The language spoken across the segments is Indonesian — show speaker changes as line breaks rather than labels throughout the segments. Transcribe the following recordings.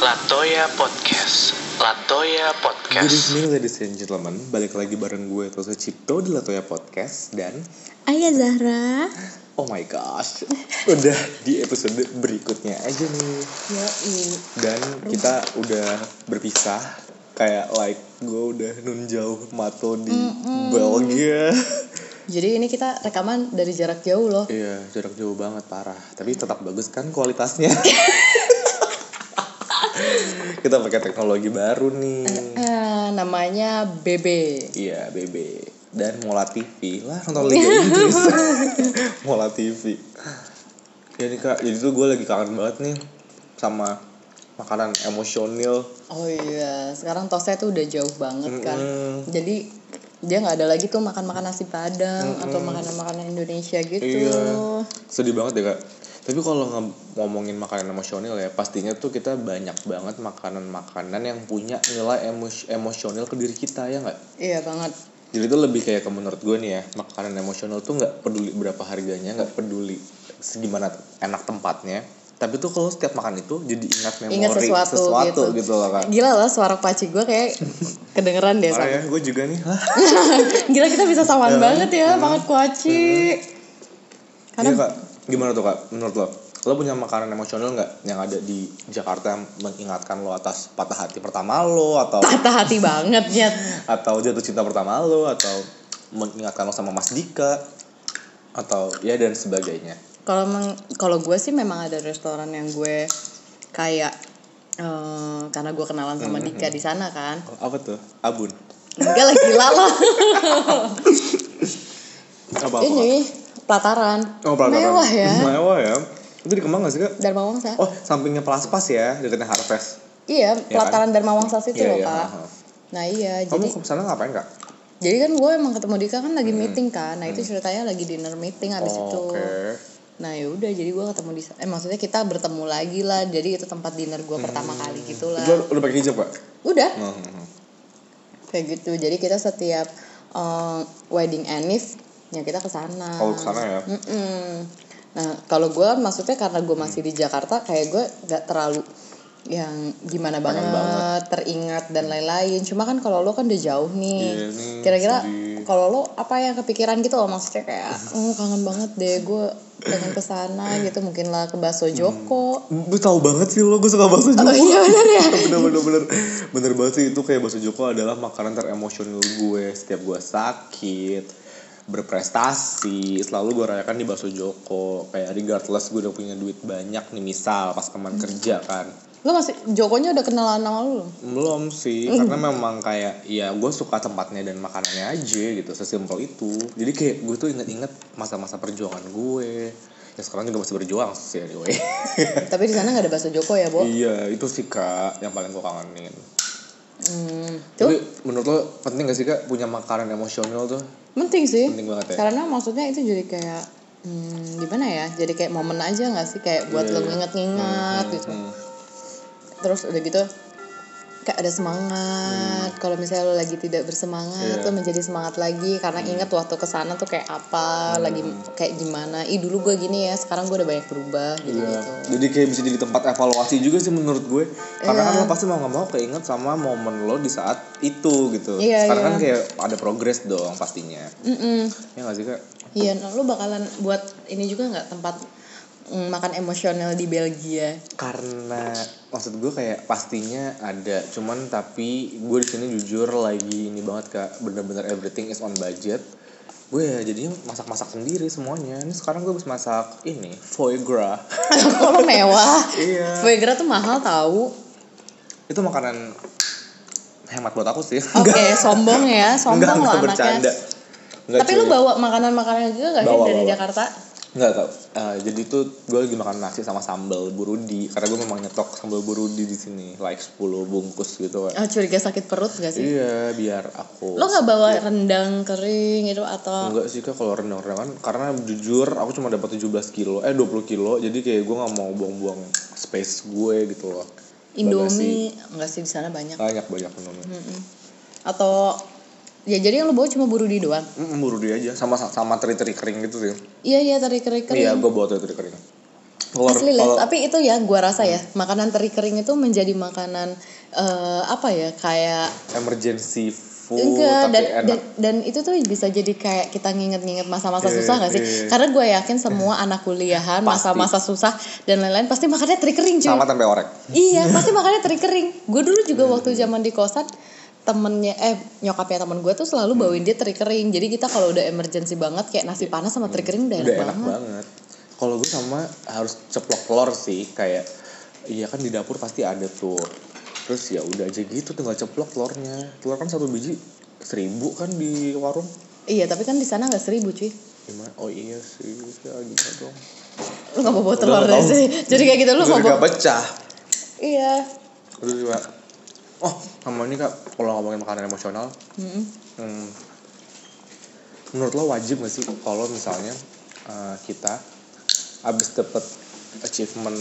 Latoya Podcast. Latoya
Good
Podcast.
evening ladies and gentlemen, balik lagi bareng gue Tosa Cipto di Latoya Podcast dan
Ayah Zahra
oh my gosh, udah di episode berikutnya aja nih
Yoi
dan kita udah berpisah kayak like gue udah nun jauh mato di Belgia.
Jadi ini kita rekaman dari jarak jauh loh
Iya jarak jauh banget parah, tapi tetap bagus kan kualitasnya. kita pakai teknologi baru nih.
Eh, Namanya BB
Iya, BB dan Mola TV lah nonton Liga Inggris. Mola TV. Jadi kak, jadi tuh gue lagi kangen banget nih sama makanan emosional.
Oh iya Sekarang tosnya tuh udah jauh banget kan
Mm-mm.
Jadi dia nggak ada lagi tuh makan-makan nasi padang Atau makanan-makanan Indonesia gitu
Iya. Sedih banget ya kak. Tapi kalau nge- ngomongin makanan emosional ya, pastinya tuh kita banyak banget makanan-makanan yang punya nilai emos- emosional ke diri kita ya nggak?
Iya banget
Jadi itu lebih kayak ke menurut gue nih ya, makanan emosional tuh nggak peduli berapa harganya, nggak peduli segimana enak tempatnya. Tapi tuh kalau setiap makan itu jadi ingat memori
Ingat sesuatu,
sesuatu
gitu.
gitu. loh kak.
Gila lah suara paci gue kayak kedengeran deh
Parah
Iya, sama.
ya, Iya. gue juga nih. Hah?
Gila kita bisa samaan banget ya Banget kuaci
Iya
Karena
kak, gimana tuh kak? Menurut lo, lo punya makanan emosional nggak yang ada di Jakarta yang mengingatkan lo atas patah hati pertama lo atau
patah hati banget Nyet
atau jatuh cinta pertama lo atau mengingatkan lo sama Mas Dika atau ya dan sebagainya.
kalau meng- kalau gue sih memang ada restoran yang gue kayak eh, karena gue kenalan
Hmm,
sama Dika di sana kan
Apa tuh? Abun.
enggak lah gila lah
Oh, Apa apa?
ini pelataran
Oh, Prataran.
mewah ya
Mewah ya. Itu di Kemang gak sih, Kak?
Dharma Wangsa
Oh, sampingnya Pelaspas ya, dekatnya Harvest.
iya pelataran Dharma Wangsa situ
Iya,
loh
iya,
pak
ha, ha.
nah iya
Kamu
jadi
ke sana ngapain, Kak?
jadi kan gue emang ketemu Dika kan lagi meeting kan nah itu ceritanya lagi dinner meeting abis
Hmm. Oh,
itu
Oke.
nah yaudah jadi gue ketemu di eh maksudnya kita bertemu lagi lah jadi itu tempat dinner gue pertama
Hmm.
kali gitulah
Itu udah pakai hijab, Kak?
udah
Hmm, hmm, hmm.
kayak gitu jadi kita setiap eh, wedding anniversary ya kita ke sana
Oh, ke sana ya.
Mm-mm. nah kalau gue maksudnya karena gue masih di Jakarta kayak gue gak terlalu yang gimana banget,
Pengen
teringat dan lain-lain cuma kan kalau lo kan udah jauh
Iya
nih
nih,
kira-kira
sedih.
kalau lo apa yang kepikiran gitu loh maksudnya kayak "Oh, kangen banget deh gue pengen ke sana gitu mungkin lah ke Baso
Hmm.
Joko
Gue tau banget sih lo, gue suka bakso Joko.
Oh, iya bener ya
bener bener bener bener banget sih itu kayak bakso Joko adalah makanan teremosional gue setiap gue sakit berprestasi selalu gue rayakan di bakso Joko kayak regardless gue udah punya duit banyak nih misal pas
Hmm.
kemarin kerja kan
lo masih Jokonya udah kenalan sama lo belum?
belum sih karena memang kayak ya gue suka tempatnya dan makanannya aja gitu sesimpel itu jadi kayak gue tuh inget-inget masa-masa perjuangan gue ya sekarang juga masih berjuang sih anyway
tapi di sana nggak ada Baso Joko ya bo
iya itu sih kak yang paling gue kangenin
Hmm, tuh
tapi menurut lo penting gak sih kak punya makanan emosional tuh
penting sih
penting banget ya
karena maksudnya itu jadi kayak hmm, gimana ya jadi kayak momen aja nggak sih kayak buat
Iya,
lo
iya.
nginget-nginget gitu
Hmm.
terus udah gitu kayak ada semangat kalau misalnya lo lagi tidak bersemangat
Hmm. Iya. Hmm.
lo menjadi semangat lagi karena inget waktu kesana tuh kayak apa lagi kayak gimana ih dulu gue gini ya sekarang gue udah banyak berubah gitu
Iya.
gitu
Jadi kayak bisa jadi tempat evaluasi juga sih menurut gue. Karena
Iya.
kan lo pasti mau nggak mau keinget sama momen lo di saat itu gitu.
Iya,
Karena
iya.
kan kayak ada progres dong pastinya.
Mm-mm.
Ya nggak sih kak?
iya nah, lo bakalan buat ini juga nggak tempat mm, makan emosional di Belgia
Karena maksud gue kayak pastinya ada. Cuman tapi gue di sini jujur lagi ini banget kak. Bener-bener everything is on budget. Gue ya jadinya masak-masak sendiri semuanya. Ini sekarang gue habis masak ini foie gras.
kalau mewah
Iya.
foie gras tuh mahal tahu
Itu makanan hemat buat aku sih.
Oke, sombong ya, sombong
enggak, enggak
lo anaknya.
bercanda. Enggak,
Tapi lu
cuy.
bawa makanan-makanan juga gak sih
Bawa,
dari
bawa.
Jakarta?
Nggak tau. Eh, jadi tuh gue lagi makan nasi sama sambal burudi karena gue memang nyetok sambal burudi di sini like 10 bungkus gitu kan.
Oh, curiga sakit perut gak sih?
Iya, biar aku.
Lo gak bawa rendang kering gitu atau
Enggak sih kak kalau rendang-rendangan karena jujur aku cuma dapat 17 kilo eh 20 kilo jadi kayak gue nggak mau buang-buang space gue gitu loh.
Indomie? Enggak sih di sana banyak.
Banyak banyak menunya.
Mm-mm. Atau ya jadi yang lo bawa cuma burudi doang.
Mm, burudi aja sama sama teri-teri kering gitu sih.
Iya iya teri kering kering.
Iya, gue bawa teri-teri kering. Kalau-
Asli Les,
kalau-
tapi itu ya gua rasa ya
Hmm.
makanan teri kering itu menjadi makanan eh, apa ya kayak
emergency food
enggak
tapi
dan,
enak.
dan dan itu tuh bisa jadi kayak kita nginget-nginget masa-masa
Iya,
susah gak sih?
iya.
Karena gue yakin semua anak kuliahan
Pasti.
masa-masa susah dan lain-lain pasti makannya teri kering cuy.
sama tempe orek.
Iya, pasti makannya teri kering. Gue dulu juga
Iya.
waktu zaman di kosan temennya eh nyokapnya temen gue tuh selalu
Hmm.
bawain dia teri kering. Jadi kita kalau udah emergency banget kayak nasi panas sama teri kering udah
Iya. Hmm. Udah
enak,
enak,
banget.
banget. Kalau gue sama harus ceplok telur sih kayak iya kan di dapur pasti ada tuh. Terus ya udah aja gitu tinggal ceplok telurnya. Telur kan satu biji seribu kan di warung.
Iya, tapi kan di sana nggak seribu cuy.
Gimana? Oh iya sih, ya gitu dong.
Lu nggak bawa
Udah
telur
nggak
deh
tahu.
sih. Jadi kayak gitu lu nggak
Udah
bawa.
pecah.
Iya.
Terus juga oh sama ini kak kalau ngomongin makanan emosional
Mm-mm.
Hmm. Menurut lo wajib gak sih kalau misalnya eh, kita abis dapet achievement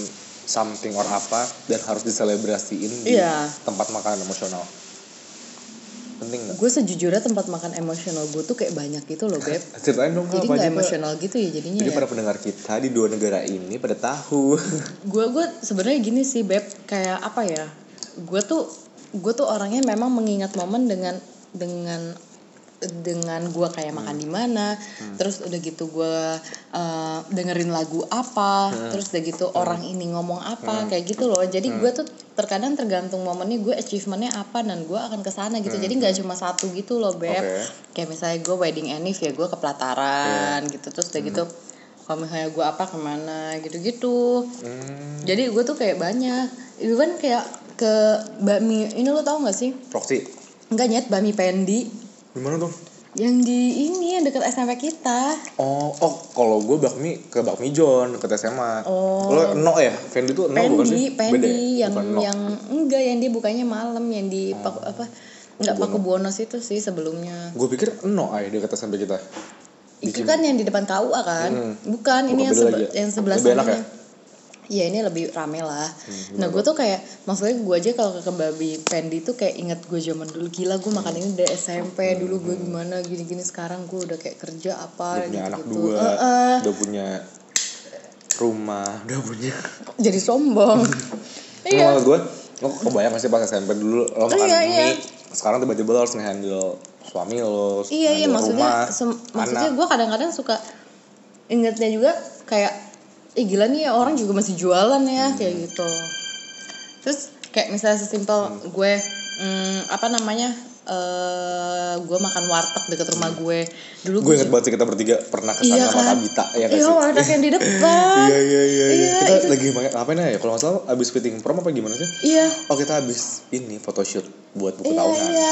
something or apa dan harus diselebrasiin di
Iya.
tempat makanan emosional? Penting gak?
Gue sejujurnya tempat makan emosional gue tuh kayak banyak gitu loh beb.
Ceritain dong Kak,
Jadi
apa aja,
nggak
Kak?
emosional gitu ya jadinya.
Jadi
ya.
para pendengar kita di dua negara ini pada tahu.
gue gue sebenarnya gini sih beb kayak apa ya gue tuh gue tuh orangnya memang mengingat momen dengan dengan dengan gue kayak makan di mana terus udah gitu gue dengerin lagu apa terus udah gitu orang ini ngomong apa kayak gitu loh jadi gue tuh terkadang tergantung momennya gue achievementnya apa dan gue akan kesana gitu jadi nggak cuma satu gitu loh beb
Oke.
kayak misalnya gue wedding anniv ya gue ke pelataran gitu terus udah gitu kalau misalnya gue apa kemana gitu-gitu
hmm,
jadi gue tuh kayak banyak even kayak ke bakmi ini lo tau gak sih
proxy.
enggak nyet bakmi pendi
Gimana tuh?
yang di ini yang deket SMP kita
Oh, oh kalau gue bakmi ke bakmi John deket SMA.
Oh.
Lo no ya? Fendi tuh no bukan sih?
pendi
Beda ya?
pendi yang
Bukan Ah. no.
yang enggak yang dia bukanya malam yang di Paku- apa enggak
Paku
paku bonus itu sih sebelumnya
Gue pikir no ay deket SMP kita.
itu kan yang di depan KUA kan
Hmm.
bukan
Bukan
ini
beda
yang, sebe-
lagi ya? Hmm.
yang sebelah
Lebih enak
sananya. Iya ini lebih rame lah. nah gue tuh kayak maksudnya gue aja kalau ke babi pendi tuh kayak inget gue zaman dulu gila gue
Hmm.
makan ini dari SMP dulu gue gimana gini-gini sekarang gue udah kayak kerja
udah
apa
punya
gitu
anak
gitu.
dua, udah punya rumah, udah punya.
jadi sombong.
Iya.
iya.
Maksud gue, lo kebayang gak sih pas SMP dulu lo makan
Iya, iya.
mie, sekarang tiba-tiba lo harus ngehandle suami lo,
Iya iya
ngehandle
maksudnya
rumah,
sem- maksudnya
anak.
gue kadang-kadang suka ingetnya juga kayak eh gila nih ya, orang juga masih jualan ya
Hmm.
kayak gitu. Terus kayak misalnya sesimpel
Hmm.
gue mm, apa namanya eh gue makan warteg deket rumah gue dulu
Hmm. Gue inget banget sih kita bertiga pernah kesana
Iya
sama
kan?
Kabita ya gak
Iya
sih?
warteg yang di depan.
Iya iya iya. iya.
Iya,
Kita
itu-
lagi makan ngapain ya? Kalau nggak salah abis fitting prom apa gimana sih?
Iya.
Oh kita abis ini photoshoot buat buku
Iya
tahunan.
iya.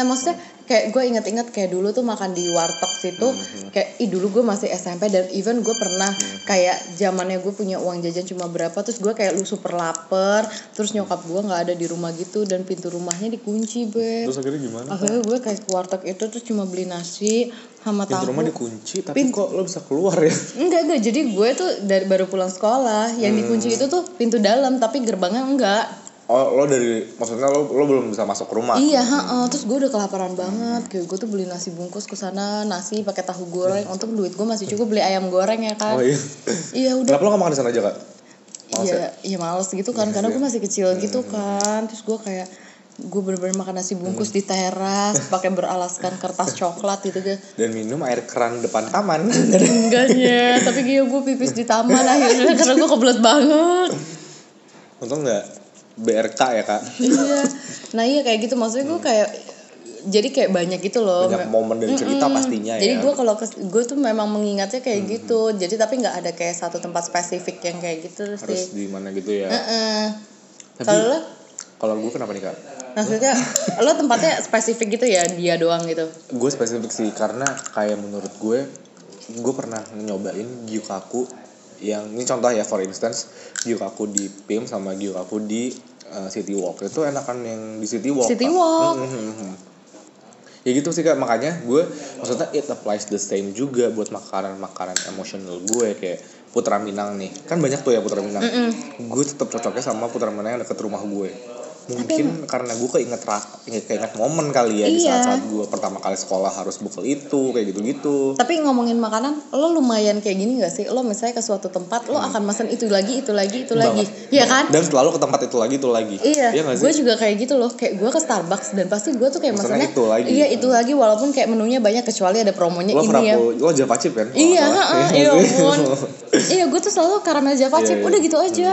Nah maksudnya kayak gue inget-inget kayak dulu tuh makan di warteg situ
Mhm.
kayak ih dulu gue masih SMP dan even gue pernah kayak zamannya gue punya uang jajan cuma berapa terus gue kayak lu super lapar terus nyokap gue nggak ada di rumah gitu dan pintu rumahnya dikunci beb.
Terus akhirnya gimana?
Akhirnya gue kayak ke warteg itu terus cuma beli nasi sama
Pintu
tahu.
rumah dikunci, tapi
Pintu-
kok lo bisa keluar ya?
Enggak enggak jadi gue tuh dari baru pulang sekolah yang
Hmm.
dikunci itu tuh pintu dalam tapi gerbangnya enggak.
Oh, lo dari maksudnya lo lo belum bisa masuk ke rumah.
Iya, heeh. terus gue udah kelaparan banget. Kayak gue tuh beli nasi bungkus ke sana, nasi pakai tahu goreng. Untung duit gue masih cukup beli ayam goreng ya kan.
Oh iya.
Iya udah.
Kenapa lo gak makan di sana aja, Kak? Males ya?
Iya, iya males gitu kan. Karena gue masih kecil
Iya,
gitu kan. Terus gue kayak gue bener-bener makan nasi bungkus di teras pakai beralaskan kertas coklat gitu kan.
Dan minum air keran depan taman.
Enggaknya, tapi iya gue pipis di taman akhirnya karena gue kebelet banget.
Untung gak BRK ya, Kak.
iya. Nah, iya kayak gitu maksudnya gue kayak jadi kayak banyak gitu loh.
Banyak momen dan cerita pastinya
Jadi
ya. Hmm.
gue kalau gue tuh memang mengingatnya kayak gitu. Jadi tapi nggak ada kayak satu tempat spesifik yang kayak gitu
harus
sih.
di mana gitu ya.
Heeh.
Tapi-
Kalau lo
Kalau gue kenapa nih, Kak?
maksudnya lo tempatnya spesifik gitu ya dia doang gitu.
Gue spesifik sih karena kayak menurut gue gue pernah nyobain gyukaku yang ini contoh ya for instance gyukaku di PIM sama gyukaku di eh, City Walk itu enakan yang di City Walk.
City
Kak.
Walk.
Mhm. ya gitu sih kak makanya gue maksudnya it applies the same juga buat makanan makanan emosional gue kayak putra minang nih kan banyak tuh ya putra minang gue tetap cocoknya sama putra minang yang deket rumah gue mungkin karena gue keinget ra- inget- keinget momen kali ya di
Iya.
saat-saat gue pertama kali sekolah harus bekal itu kayak gitu-gitu
Tapi ngomongin makanan, lo lumayan kayak gini gak sih? Lo misalnya ke suatu tempat,
Hmm.
lo akan mesen itu lagi, itu lagi, itu lagi.
Banget.
Iya kan?
dan selalu ke tempat itu lagi itu lagi
Iya,
nggak sih
gue juga kayak gitu loh. Kayak gue ke Starbucks dan pasti gue tuh kayak
Maksudnya
maksudnya
itu lagi.
Iya, itu lagi walaupun kayak menunya banyak kecuali ada promonya
lo
ini
kenapa
ya.
lo java chip kan kalau
Iya,
nggak salah.
heeh,
Iya
iya
nggak sih?
ampun. iya, gue tuh selalu karamel java
Iya,
chip,
iya.
udah gitu aja.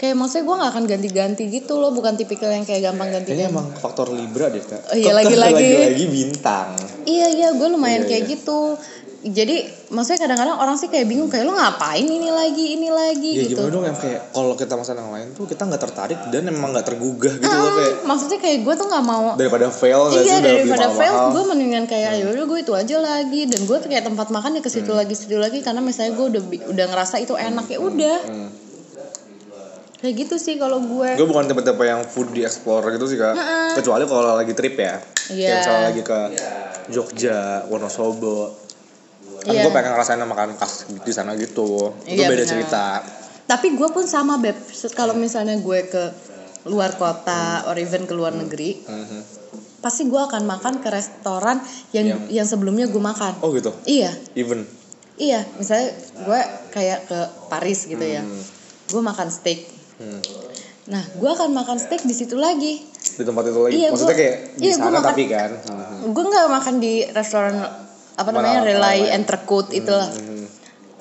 Kayak maksudnya gue gak akan ganti-ganti gitu loh, bukan tipikal yang kayak gampang
kayaknya
ganti-ganti.
Iya, emang faktor libra deh kak
Oh, iya,
Faktor
lagi-lagi.
lagi-lagi bintang
Iya, iya, gue lumayan
Iya,
kayak
iya.
gitu. Jadi maksudnya kadang-kadang orang sih kayak bingung kayak lo ngapain ini lagi, ini lagi
ya
gitu.
gimana dong yang kayak kalau kita masakan yang lain tuh kita nggak tertarik dan emang nggak tergugah gitu loh
Ah,
kayak
maksudnya kayak gue tuh nggak mau
daripada fail nggak
Ah. iya
sih udah beli
daripada fail
mahal-mahal. Hmm.
gue mendingan kayak ya udah gue itu aja lagi dan gue kayak tempat makan ya ke situ lagi situ lagi karena misalnya gue udah bi- udah ngerasa itu enak ya udah
Hmm.
kayak gitu sih kalau gue
gue bukan tipe-tipe yang food di explorer gitu sih kak
Heeh.
kecuali kalau lagi trip ya
Iya.
kayak misalnya lagi ke Jogja Wonosobo kan
Iya.
gue pengen ngerasain makanan khas di sana gitu itu beda
Iya, benar.
cerita
tapi gue pun sama beb Se- kalau misalnya gue ke luar kota or even ke luar negeri
Mhm.
pasti gue akan makan ke restoran yang yang, sebelumnya gue makan
Iya. oh gitu
iya
even
iya misalnya gue kayak ke Paris gitu ya
Hmm.
gue makan steak
Hmm.
nah gue akan makan steak di situ lagi
di tempat itu lagi
Iya,
maksudnya
gua-
kayak di
iya, gua
sana
makan-
tapi kan Mhm.
gue nggak makan di restoran apa
Mana-
namanya Relay
mana-
Entrecote itulah.
Mhm.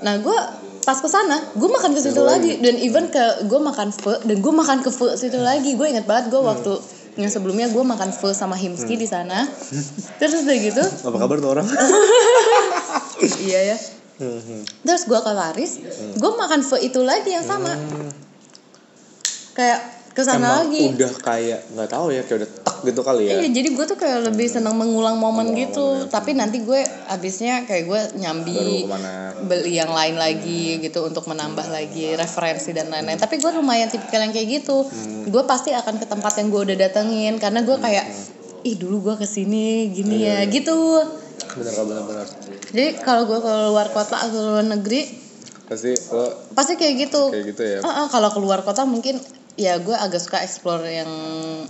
Nah gue pas ke sana, gue makan ke situ
Situ
lagi dan even ke gue makan pho dan gue makan ke pho situ lagi. Gue inget banget gue waktu yang sebelumnya gue makan pho sama Himski di sana. Terus udah gitu,
apa kabar tuh orang
iya ya.
Mhm.
Terus gue ke Paris, gue makan pho itu lagi yang sama. Kayak ke sana
emang
lagi.
udah kayak nggak tahu ya kayak udah tak gitu kali ya
Iya, jadi gue tuh kayak lebih seneng mengulang momen gitu. Tapi nanti gue abisnya kayak gue
baru
nyambi
kemana
beli yang lain lagi gitu untuk menambah lagi referensi dan lain-lain. Tapi gue lumayan tipikal yang kayak gitu.
Hmm.
Gue pasti akan ke tempat yang gue udah datengin karena gue kayak ih dulu gue kesini
Iya,
gini ya gitu.
bener kak bener-bener
Jadi kalau gue ke luar kota atau luar negeri
pasti lo
pasti kayak gitu.
kayak gitu ya
Ah, ah, kalau keluar kota mungkin ya gue agak suka explore yang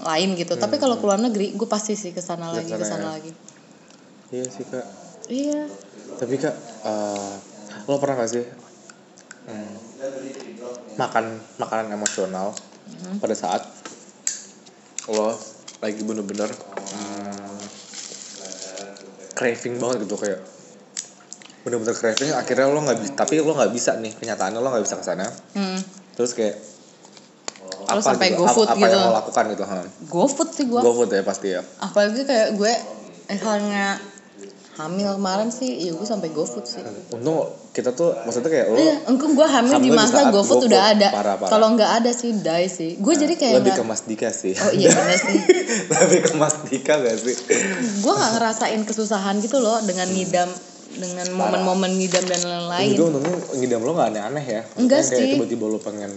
lain gitu. Tapi
Hmm,
kalau keluar negeri gue pasti sih ke sana lagi,
Kesana
ke sana
ya.
lagi.
iya sih kak
Iya.
Tapi kak, eh, lo pernah gak sih hmm, makan makanan emosional
Hmm.
pada saat lo lagi bener-bener hmm, craving banget gitu kayak bener-bener craving akhirnya lo nggak bisa tapi lo nggak bisa nih kenyataannya lo nggak bisa kesana
Hmm.
terus kayak
Lo sampai
ap-
GoFood
apa, yang
gitu.
lo lakukan gitu ha
GoFood sih gue.
GoFood ya pasti ya
apalagi kayak gue misalnya hamil kemarin sih ya gue sampai GoFood sih
untung kita tuh maksudnya kayak oh, lo
Iya, engkau gue hamil,
Hamil
di
di
masa
saat
GoFood
GoFood.
udah ada.
Parah, parah. Nah,
Kalau nggak ada sih die sih. Gue jadi kayak
lebih ke
nggak-
Mas Dika sih
oh iya bener sih.
lebih ke Mas Dika gak sih?
Gue nggak ngerasain kesusahan gitu loh dengan ngidam dengan momen-momen ngidam dan lain-lain.
Juga untungnya ngidam lo gak aneh-aneh ya Maksudnya
Enggak
kayak
sih.
tiba-tiba lo pengen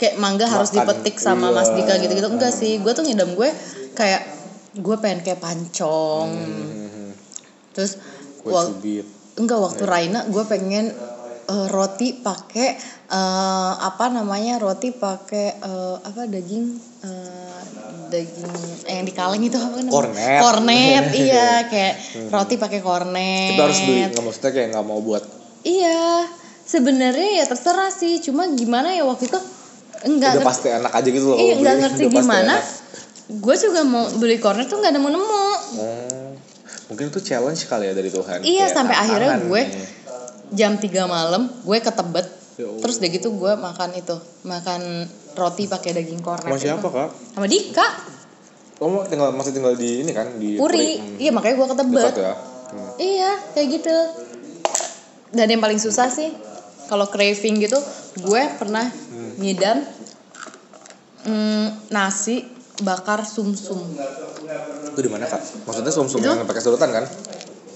Kayak mangga harus
Makan,
dipetik sama
iya.
Mas Dika gitu-gitu. Enggak sih. Gue tuh ngidam gue kayak gue pengen kayak pancong.
hmm,
Terus
Kue
wak-
cubit
Enggak waktu
Iya.
Raina gue pengen eh, roti pakai eh, apa namanya roti pakai eh, apa daging eh, daging eh, yang di kaleng itu apa namanya
Kornet.
kornet iya kayak roti pakai kornet
Kita harus beli, nggak maksudnya kayak gak mau buat
iya sebenarnya ya terserah sih cuma gimana ya waktu itu enggak
Udah
ngerti
pasti enak aja gitu loh
iya
kalau
enggak
beli.
ngerti
Udah pasti
gimana
enak.
gue juga mau beli kornet tuh nggak nemu nemu
Oh, Mungkin itu challenge kali ya dari Tuhan
Iya,
Kayak
sampai akhirnya
tantangan
gue-
nih.
jam 3 malam gue ke Tebet
Ya Allah.
terus udah gitu gue makan itu makan roti pakai daging kornet
Sama siapa
itu.
kak?
sama Dika
Lo mau tinggal, masih tinggal di ini kan? Di
Puri
Hmm.
iya makanya gue ke Tebet
Dekat ya Hmm.
iya kayak gitu dan yang paling susah sih kalau craving gitu gue pernah
Hmm.
ngidam mm, nasi bakar sumsum
Itu di mana kak? Maksudnya sum-sum
Itu?
yang pakai sedotan kan?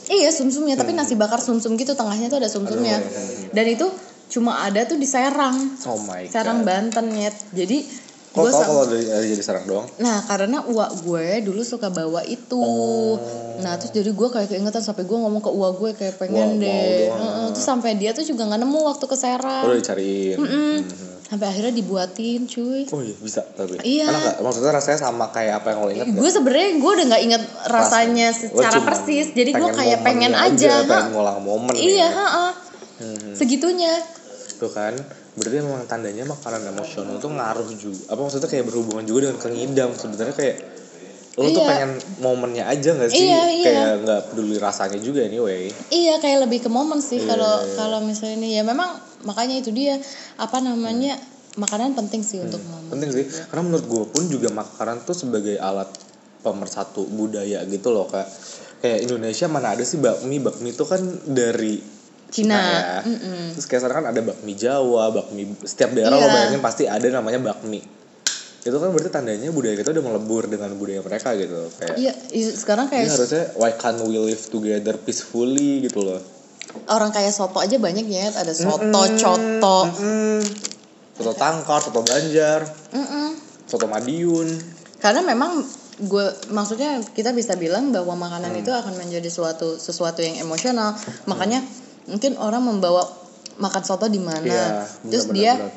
iya sumsumnya
Hmm.
tapi nasi bakar sumsum gitu tengahnya tuh ada sumsumnya
Aduh, aduh.
dan itu cuma ada tuh di Serang
Oh my
Serang
god
Banten nyet jadi
Kok
gue
tau Oh,
sam-
kalau dari, dari jadi sarang doang?
Nah karena uak gue dulu suka bawa itu
Oh.
Nah terus jadi gue kayak keingetan sampai gue ngomong ke uak gue kayak pengen
Wah, mau
deh
doang.
Heeh, Terus sampai dia tuh juga gak nemu waktu ke Serang
Lo Oh, udah dicariin
Mm-mm.
Mhm.
sampai akhirnya dibuatin cuy
Oh iya bisa tapi.
Iya.
Enak nggak? Maksudnya rasanya sama kayak apa yang lo ingat nggak?
gue sebenarnya gue udah nggak inget rasanya
Rasanya. Lo
secara
cuman
Iya, persis jadi gue
pengen
kayak
momennya
pengen aja,
pengen Mm-hmm.
ha.
ngulang momen
iya
ya.
ha, ha. segitunya
Tuh kan berarti memang tandanya makanan emosional tuh ngaruh juga apa maksudnya kayak berhubungan juga dengan pengidam sebenarnya kayak lo tuh
Iya.
pengen momennya aja nggak sih
Iya, iya.
kayak nggak peduli rasanya juga anyway
Iya kayak lebih ke momen sih
Iya,
kalau
iya.
kalau misalnya ini ya memang makanya itu dia apa namanya
Mm.
makanan penting sih untuk momen.
penting sih karena menurut gue pun juga makanan tuh sebagai alat pemersatu budaya gitu loh kak kayak Indonesia mana ada sih bakmi bakmi itu kan dari
Cina,
ya
mm-mm.
terus kayak sekarang kan ada bakmi Jawa bakmi setiap daerah lo
Iya.
bayangin pasti ada namanya bakmi itu kan berarti tandanya budaya kita udah melebur dengan budaya mereka gitu kayak
Iya i- sekarang
ini
kayak
harusnya why can't we live together peacefully gitu loh
orang kayak soto aja banyak ya ada soto, coto,
Mm-mm. Hmm, soto tangkar soto banjar
Mm-mm.
soto madiun
karena memang gue maksudnya kita bisa bilang bahwa
Mm.
makanan itu akan menjadi suatu sesuatu yang emosional makanya mungkin orang membawa makan soto di mana
Iya,
Nah, terus
benar-benar
dia
benar.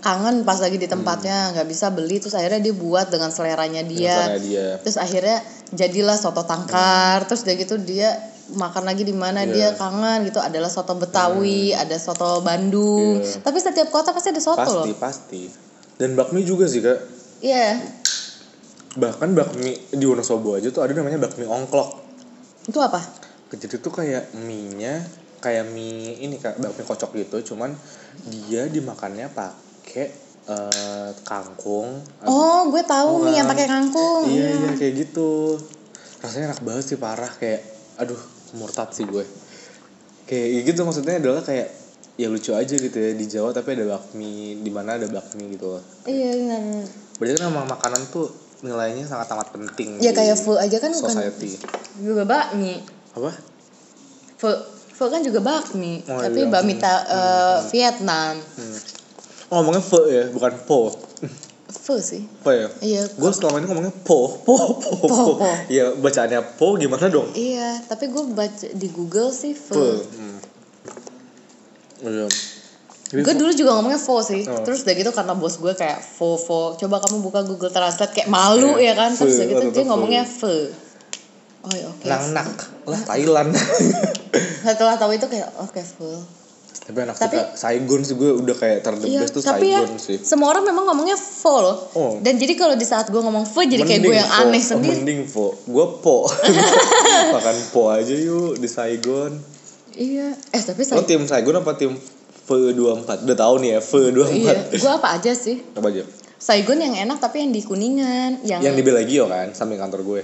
kangen pas lagi di tempatnya nggak bisa beli terus akhirnya dia buat dengan seleranya dia,
Misalnya dia Mm.
terus akhirnya jadilah soto tangkar terus udah gitu dia makan lagi di
Iya.
mana
Mm.
dia kangen gitu adalah soto Betawi ada soto Bandung
Iya.
tapi setiap kota pasti ada soto
pasti
loh
pasti dan bakmi juga sih kak
iya
bahkan bakmi di Wonosobo aja tuh ada namanya bakmi ongklok
itu apa
jadi tuh kayak mie nya kayak mie ini kak bakmi kocok gitu cuman dia dimakannya pakai eh, kangkung
oh gue tahu
Bukan.
mie yang pakai kangkung
iya
Iya.
iya kayak gitu rasanya enak banget sih parah kayak aduh murtad sih gue kayak gitu maksudnya adalah kayak ya lucu aja gitu ya di Jawa tapi ada bakmi di mana ada bakmi gitu loh
Iya benar.
Berarti kan memang makanan tuh nilainya sangat amat penting.
Ya
di
kayak full aja kan bukan
society.
juga bakmi.
Apa?
Full, full kan juga bakmi,
Oh,
tapi
iya.
bakmi ta- eh, Vietnam.
Oh, ngomongnya pho ya, bukan po.
Full sih.
Po ya.
Iya.
Gue selama ini ngomongnya po, po, po, po.
po.
Iya, bacaannya po gimana dong?
Iya, tapi gue baca di Google sih
Po.
full.
Hmm. Iya. Jadi
Gue
pho-
dulu juga ngomongnya full sih.
Oh.
Terus udah gitu karena bos gue kayak full full. Coba kamu buka Google Translate kayak malu
Iya,
ya kan.
full,
Terus udah gitu
tetep
dia
full. Nah.
ngomongnya full. Oh ya oke.
nang nak lah Thailand.
Setelah tahu itu kayak oke full.
tapi enak sih
Tapi-
Kak. Saigon sih gue udah kayak ter the
Iya,
best tuh
tapi ya
Saigon sih.
semua orang memang ngomongnya full loh.
Oh.
Dan jadi kalau di saat gue ngomong full jadi kayak gue
Mending
yang
pho.
aneh sendiri.
Mending po. Gue po. Makan po aja yuk di Saigon.
Iya. Eh tapi
Lo
saya
Oh, tim Saigon apa tim Fe24? Udah tahu nih ya, Fe24.
iya. Gue apa aja sih?
Apa aja?
Saigon yang enak tapi yang di Kuningan, yang,
Yang di Belagio kan, samping kantor gue.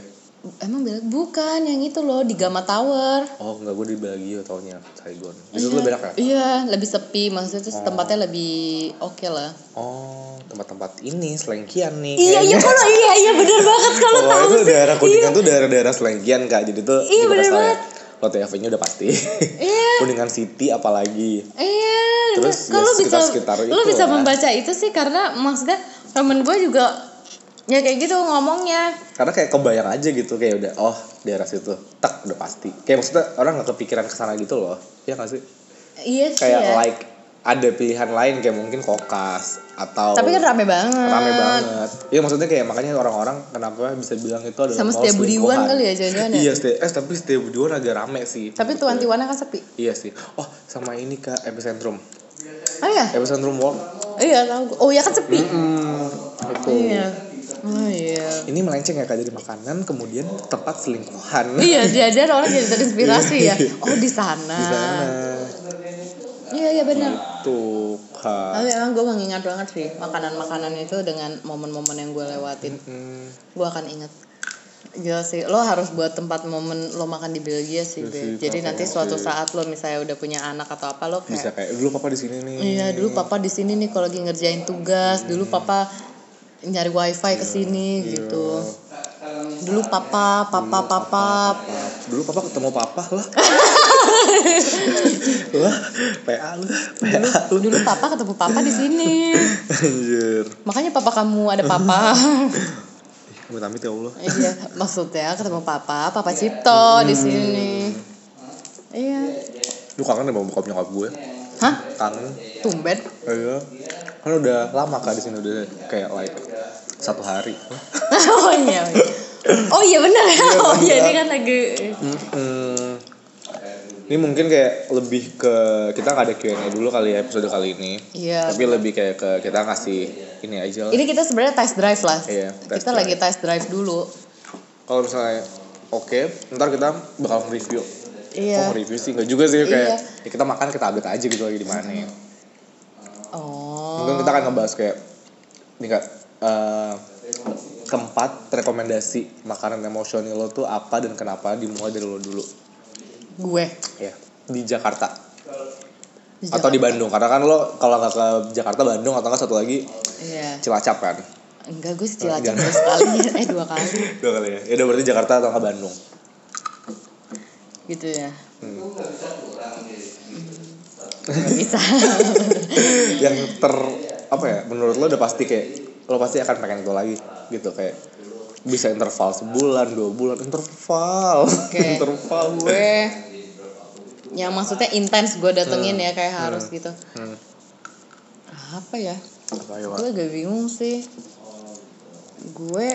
emang bilang bukan yang itu loh di Gama Tower.
Oh enggak, gue di Belagio tahunnya Saigon. Di
Iya.
situ lebih enak ya?
Iya, lebih sepi maksudnya terus tempatnya lebih oke lah.
Oh, tempat-tempat ini selengkian nih.
Iya, iya kalau iya iya bener banget kalau
Kalau
tahu
itu
sih.
daerah Kuningan tuh daerah-daerah selengkian kak, jadi tuh Oh,
Iya,
gimana
bener
saya?
banget.
Lotte Avenue udah pasti.
Iya.
Kuningan City apalagi.
Iya,
Terus ya
kalau lu bisa
sekitar-sekitar
lu
itu
bisa
lah.
membaca itu sih karena maksudnya temen gue juga ya kayak gitu ngomongnya.
Karena kayak kebayang aja gitu kayak udah oh daerah situ tak udah pasti. Kayak maksudnya orang nggak kepikiran kesana gitu loh. Iya nggak sih?
Iya sih.
kayak
ya.
like ada pilihan lain kayak mungkin kokas atau
Tapi kan rame banget.
rame banget. Iya maksudnya kayak makanya orang-orang kenapa bisa bilang itu adalah
Sama
mall
Setia Budiwan
selingkuhan.
kali ya, jangan-jangan ya?
Iya, Setia- eh tapi Setia Budiwan agak rame sih.
Tapi tuan tiwana kan sepi.
Iya sih. Oh, sama ini Kak Epicentrum.
Oh iya.
Epicentrum Walk.
Iya tahu. gua. Oh iya kan sepi.
Hmm, itu.
Iya. Oh iya.
Ini melenceng ya Kak dari makanan kemudian tempat selingkuhan.
Iya, jajan orang jadi terinspirasi ya. Oh di sana.
Iya. Di sana.
Iya iya benar.
Tuh, Kak.
Tapi emang gue mengingat banget sih makanan-makanan itu dengan momen-momen yang gue lewatin.
Hmm,
Gue akan ingat. Gila sih, lo harus buat tempat momen lo makan di Belgia sih,
Iya
Be.
sih, Iya.
Jadi
makanya
nanti suatu
sih.
saat lo misalnya udah punya anak atau apa lo kayak
bisa kayak dulu papa di sini nih.
Iya dulu papa di sini nih kalau lagi ngerjain tugas, dulu papa nyari wifi
Iya.
ke sini gitu. Dulu papa, papa, papa.
dulu papa ketemu papa lah lah PA lu PA lu
Dulu papa ketemu papa di sini.
anjir
Makanya papa kamu ada papa.
amit amit ya Allah
iya, maksudnya ketemu papa, papa
Iya.
Cipto
Hmm.
di sini. Iya.
lu kangen sama bokap nyokap gue
Hah?
kangen
Tumben.
iya kan udah lama kak di sini udah kayak like satu hari
oh iya. iya. Oh iya benar. Oh iya ini kan lagi
Mm-mm. Hmm. ini mungkin kayak lebih ke kita nggak ada Q&A dulu kali ya episode kali ini
Iya.
tapi lebih kayak ke kita ngasih ini aja lah
Ini kita sebenarnya test drive lah.
Iya, test
kita
drive.
lagi test drive dulu.
kalau misalnya oke ntar kita bakal review
Iya.
Oh, review sih nggak juga sih kayak
Iya.
ya kita makan kita update aja gitu lagi di mana ya.
Oh.
mungkin kita akan ngebahas kayak tingkat eh, keempat rekomendasi makanan emosional lo tuh apa dan kenapa dimulai dari lo dulu
Gue.
ya di Jakarta
Di
atau di Bandung karena kan lo kalau nggak ke Jakarta Bandung atau nggak satu lagi
Iya.
Cilacap kan
Enggak gue sih cilacap
Jangan.
dua sekali eh dua kali
dua kali ya ya udah berarti Jakarta atau nggak Bandung
gitu ya.
Hmm.
Nggak bisa.
yang ter apa ya menurut lo udah pasti kayak lo pasti akan pengen itu lagi gitu kayak bisa interval sebulan dua bulan interval
Oke.
interval
gue yang maksudnya intens gue datengin ya kayak harus gitu.
Hmm.
Apa ya?
apa ya Wak?
gue agak bingung sih gue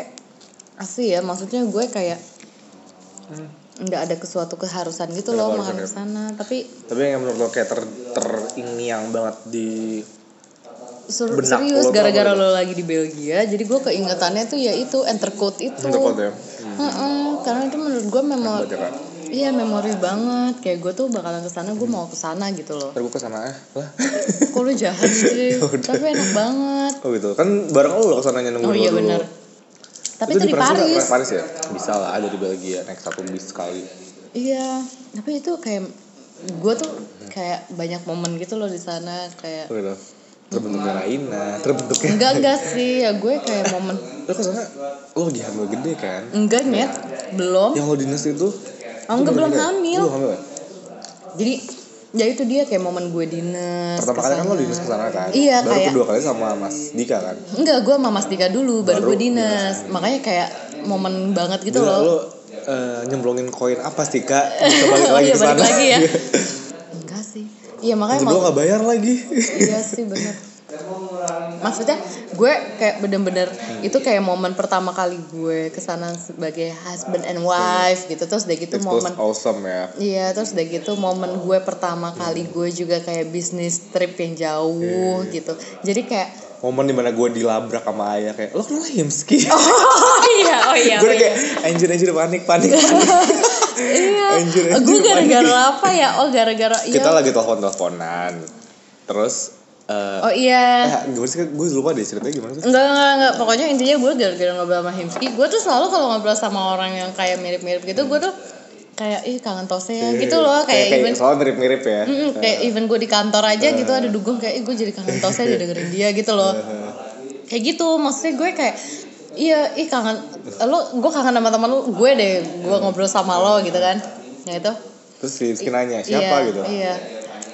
asli ya maksudnya gue kayak nggak ada ke suatu keharusan gitu
Nggak Hmm. ada
loh
ya?
mau harus sana tapi
tapi yang menurut lo kayak ter ter ini yang banget di
ser-
Benak lo
serius
tuh
gara-gara
apa
lo lagi di Belgia jadi gue keingetannya tuh ya itu entercote itu
interval tuh ya
Heeh, karena itu menurut gue memori
Hebat ya, Kak.
iya memori banget kayak gue tuh bakalan kesana gue mau kesana gitu loh
ntar gue kesana eh. lah
kok lo jahat sih
Yaudah.
tapi enak banget
oh gitu kan bareng lo kesananya nunggu
oh
lo
iya
dulu.
benar tapi itu di
nggak?
Paris
Paris ya bisa lah ada di Belgia naik satu bis sekali
Iya, tapi itu kayak gue tuh kayak banyak momen gitu loh di sana kayak
oh gitu terbentuknya Raina terbentuknya
enggak enggak sih ya gue kayak momen
lo kesana lo lagi hamil gede kan
enggak nyet belum
yang lo dinas itu
Oh, enggak,
itu
belum
gede.
hamil.
Lo belum hamil ya?
jadi ya itu dia kayak momen gue dinas
pertama kali kan lo
kesana.
dinas kesana kan
Iya,
baru
kayak-
kedua kali sama Mas Dika kan
enggak gue sama Mas Dika dulu baru,
Baru iya.
gue dinas makanya kayak momen banget gitu
Gila,
loh
lo eh, nyemplungin koin apa sih kak bisa balik
Oh
lagi
iya,
ke sana
balik lagi ya. enggak sih iya makanya
kedua
mau
nggak bayar lagi
iya sih bener maksudnya gue kayak bener-bener
Hmm.
itu kayak momen pertama kali gue kesana sebagai husband and wife gitu terus udah gitu
itu
momen
awesome ya
iya terus udah gitu momen gue pertama kali
Hmm.
gue juga kayak bisnis trip yang jauh gitu jadi kayak
momen dimana gue dilabrak sama ayah kayak lo kenapa himski
oh iya oh iya
gue udah kayak anjir anjir panik panik
iya
Anjir, anjir,
gue
panik.
gara-gara apa ya oh gara-gara iya
kita lagi telepon teleponan terus eh
oh iya
eh, gimana sih gue lupa deh ceritanya gimana sih
Enggak, enggak, enggak. Pokoknya intinya gue gara-gara ngobrol sama Himski. Gue tuh selalu kalau ngobrol sama orang yang kayak mirip-mirip gitu, gue tuh kayak, ih kangen tose ya
Iya,
gitu loh. Kayak, even,
soalnya mirip mirip ya
Mm, kayak even gue di kantor aja gitu
Iya.
ada dugong kayak, ih gue jadi kangen tose ya dengerin dia gitu loh. Kayak gitu, maksudnya gue kayak, iya, ih kangen, lo, gue kangen sama teman lo, gue deh, gue ngobrol sama lo gitu kan. Ya itu.
terus si Rizky nanya siapa
iya,
gitu
Iya.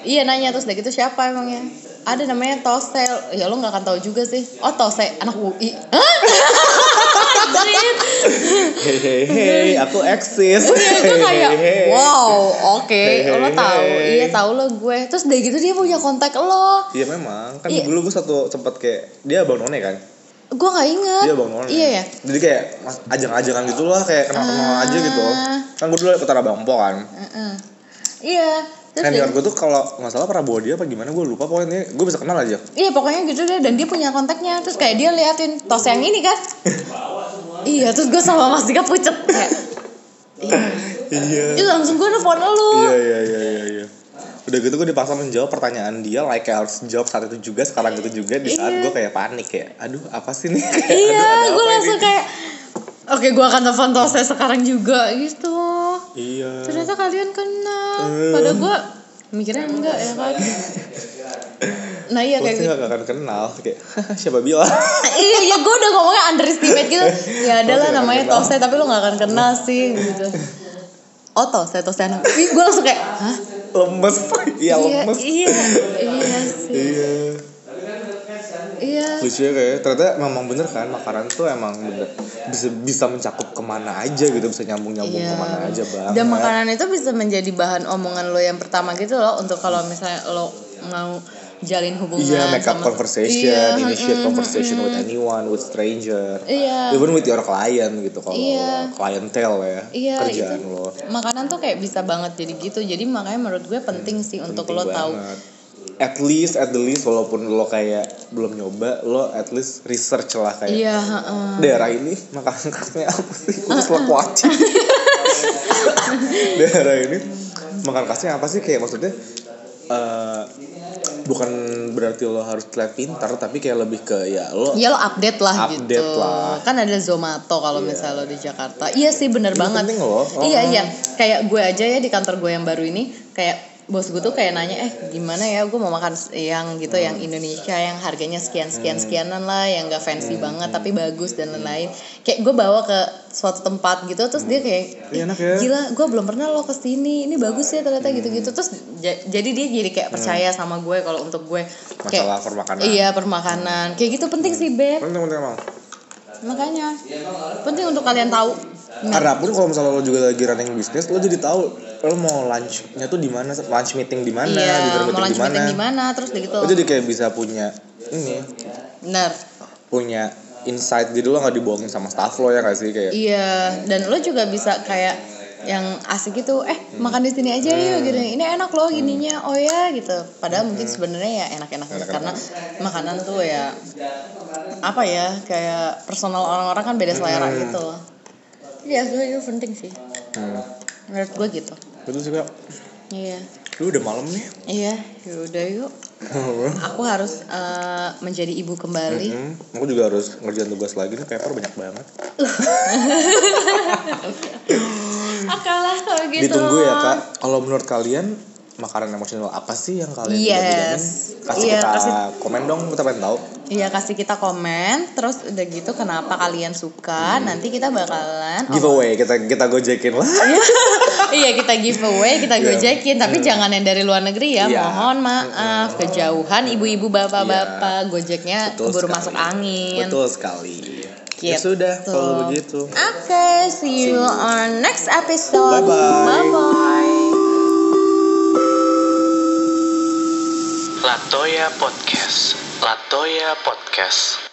Iya nanya terus udah gitu siapa emangnya? Ada namanya Tose. Ya lo nggak akan tahu juga sih. Oh Tose anak UI. Hah? Anjir.
Hei hei hei, aku eksis.
Iya, gue kayak wow, oke,
Hey, hey,
lo tahu,
hey.
iya tahu lo gue. Terus udah gitu dia punya kontak lo,
Iya memang, kan
Iya.
dulu gue satu sempat kayak dia abang none kan,
gue nggak inget.
dia abang none.
Iya Ah. ya.
Jadi kayak mas- ajang-ajangan gitu lah, kayak kenal-kenal aja gitu. Kan gue dulu ketara bang po kan.
Heeh. Iya.
Kan
Terus dia-
gue tuh kalau nggak salah pernah bawa dia apa gimana gue lupa pokoknya gue bisa kenal aja.
Iya pokoknya gitu deh dan dia punya kontaknya terus kayak dia liatin tos yang ini kan. iya terus gue sama Mas Dika pucet kayak.
Iya.
Itu langsung gue nelfon lu.
Iya iya iya iya. iya. Udah gitu gue dipaksa menjawab pertanyaan dia like kayak harus jawab saat itu juga sekarang itu juga di saat
Iya.
gue kayak panik ya. Aduh apa sih nih? Kayak,
Iya,
aduh, ada
gue
apa
langsung
ini?
kayak Oke, gue akan telepon Tose sekarang juga gitu.
Iya.
Ternyata kalian kenal.
Eh.
Pada gue mikirnya enggak ya kan. Nah iya
Gue
kayak
sih
gitu.
gak akan kenal kayak siapa bilang.
iya, iya gue udah ngomongnya underestimate gitu. Ya
Lo
adalah
tidak
namanya
akan kenal.
Tose tapi lo gak akan kenal sih gitu. Oh Tose, Tose anak. Ih, gue langsung kayak, hah?
lemes iya
Iya,
lemes
iya, iya sih.
iya
Iya.
lucunya kayak ternyata memang bener kan makanan tuh emang bener bisa bisa mencakup kemana aja gitu bisa nyambung nyambung
Iya.
kemana aja bang
Dan makanan itu bisa menjadi bahan omongan lo yang pertama gitu loh untuk kalau misalnya lo mau jalin hubungan
Iya, make up
sama-
conversation,
Iya,
initiate
mm,
conversation Ya,
mm,
with anyone, with stranger,
Iya.
even with your client gitu kalau
Iya.
clientele ya
Iya,
kerjaan
itu.
lo.
Makanan tuh kayak bisa banget jadi gitu. Jadi makanya menurut gue penting sih untuk
Penting
lo tahu.
banget. At least, at the least, walaupun lo kayak belum nyoba, lo at least research lah kayak
Iya, heeh.
daerah ini makanan khasnya apa sih? Terus lo kuaci. daerah ini makanan khasnya apa sih? Kayak maksudnya eh, bukan berarti lo harus terlihat pintar, tapi kayak lebih ke ya lo
Ya lo update lah
Update
gitu.
lah.
Kan ada Zomato kalau misalnya lo di Jakarta. Iya sih
Ini
bener banget.
penting loh. Oh.
Iya iya. Kayak gue aja ya di kantor gue yang baru ini kayak bos gue tuh kayak nanya eh gimana ya gue mau makan yang gitu yang
Hmm.
Indonesia yang harganya sekian sekian sekianan lah yang gak fancy
Hmm.
banget tapi bagus dan lain-lain kayak gue bawa ke suatu tempat gitu terus dia kayak
Ini
"Ih,
enak ya."
gila gue belum pernah lo kesini ini bagus ya
Hmm.
ternyata gitu-gitu terus ja- jadi dia jadi kayak percaya sama gue kalau untuk gue kayak
masalah permakanan.
Iya permakanan. Kayak gitu penting sih beb.
Penting, penting, emang.
Makanya penting untuk kalian tahu. Nah,
Karena pun kalau misalnya lo juga lagi running bisnis, lo jadi tahu lo mau lunchnya tuh di mana, lunch meeting di mana, dinner
iya mau
meeting
lanjut
di mana.
meeting di mana terus udah gitu.
Lo jadi kayak bisa punya ini,
Bener.
punya insight jadi lo nggak dibohongin sama staff lo ya nggak sih kayak
Iya dan lo juga bisa kayak yang asik gitu eh makan di sini aja yuk gitu
Hmm.
ini enak loh gininya oh ya gitu padahal mungkin sebenarnya ya enak-enak aja.
Enak-enak.
karena makanan tuh ya apa ya kayak personal orang-orang kan beda selera gitu loh iya itu penting sih
hmm.
menurut gue gitu
betul sih kak
iya
lu udah malam nih
Iya, yaudah yuk. Aku harus eh, menjadi ibu kembali.
Hmm, aku juga harus ngerjain tugas lagi nih paper banyak banget.
Akalah kalau gitu.
Ditunggu ya kak. Kalau menurut kalian makanan emosional apa sih yang kalian
Yes.
jamin-jamin? Kasih
Iya,
kita
kasih-
komen dong, kita pengen tahu.
Iya kasih kita komen, terus udah gitu kenapa kalian suka? Nanti kita bakalan.
Giveaway kita kita gojekin lah.
iya kita giveaway, kita
Iya.
gojekin, tapi jangan yang dari luar negeri
Iya.
ya.
Iya.
Mohon maaf kejauhan, ibu-ibu, bapak-bapak, gojeknya
Betul
keburu
sekali.
masuk angin.
Betul sekali. Ya
Gitu.
sudah kalau begitu.
Oke, see you on next episode.
Bye-bye.
Bye-bye.
Latoya Podcast. Latoya Podcast.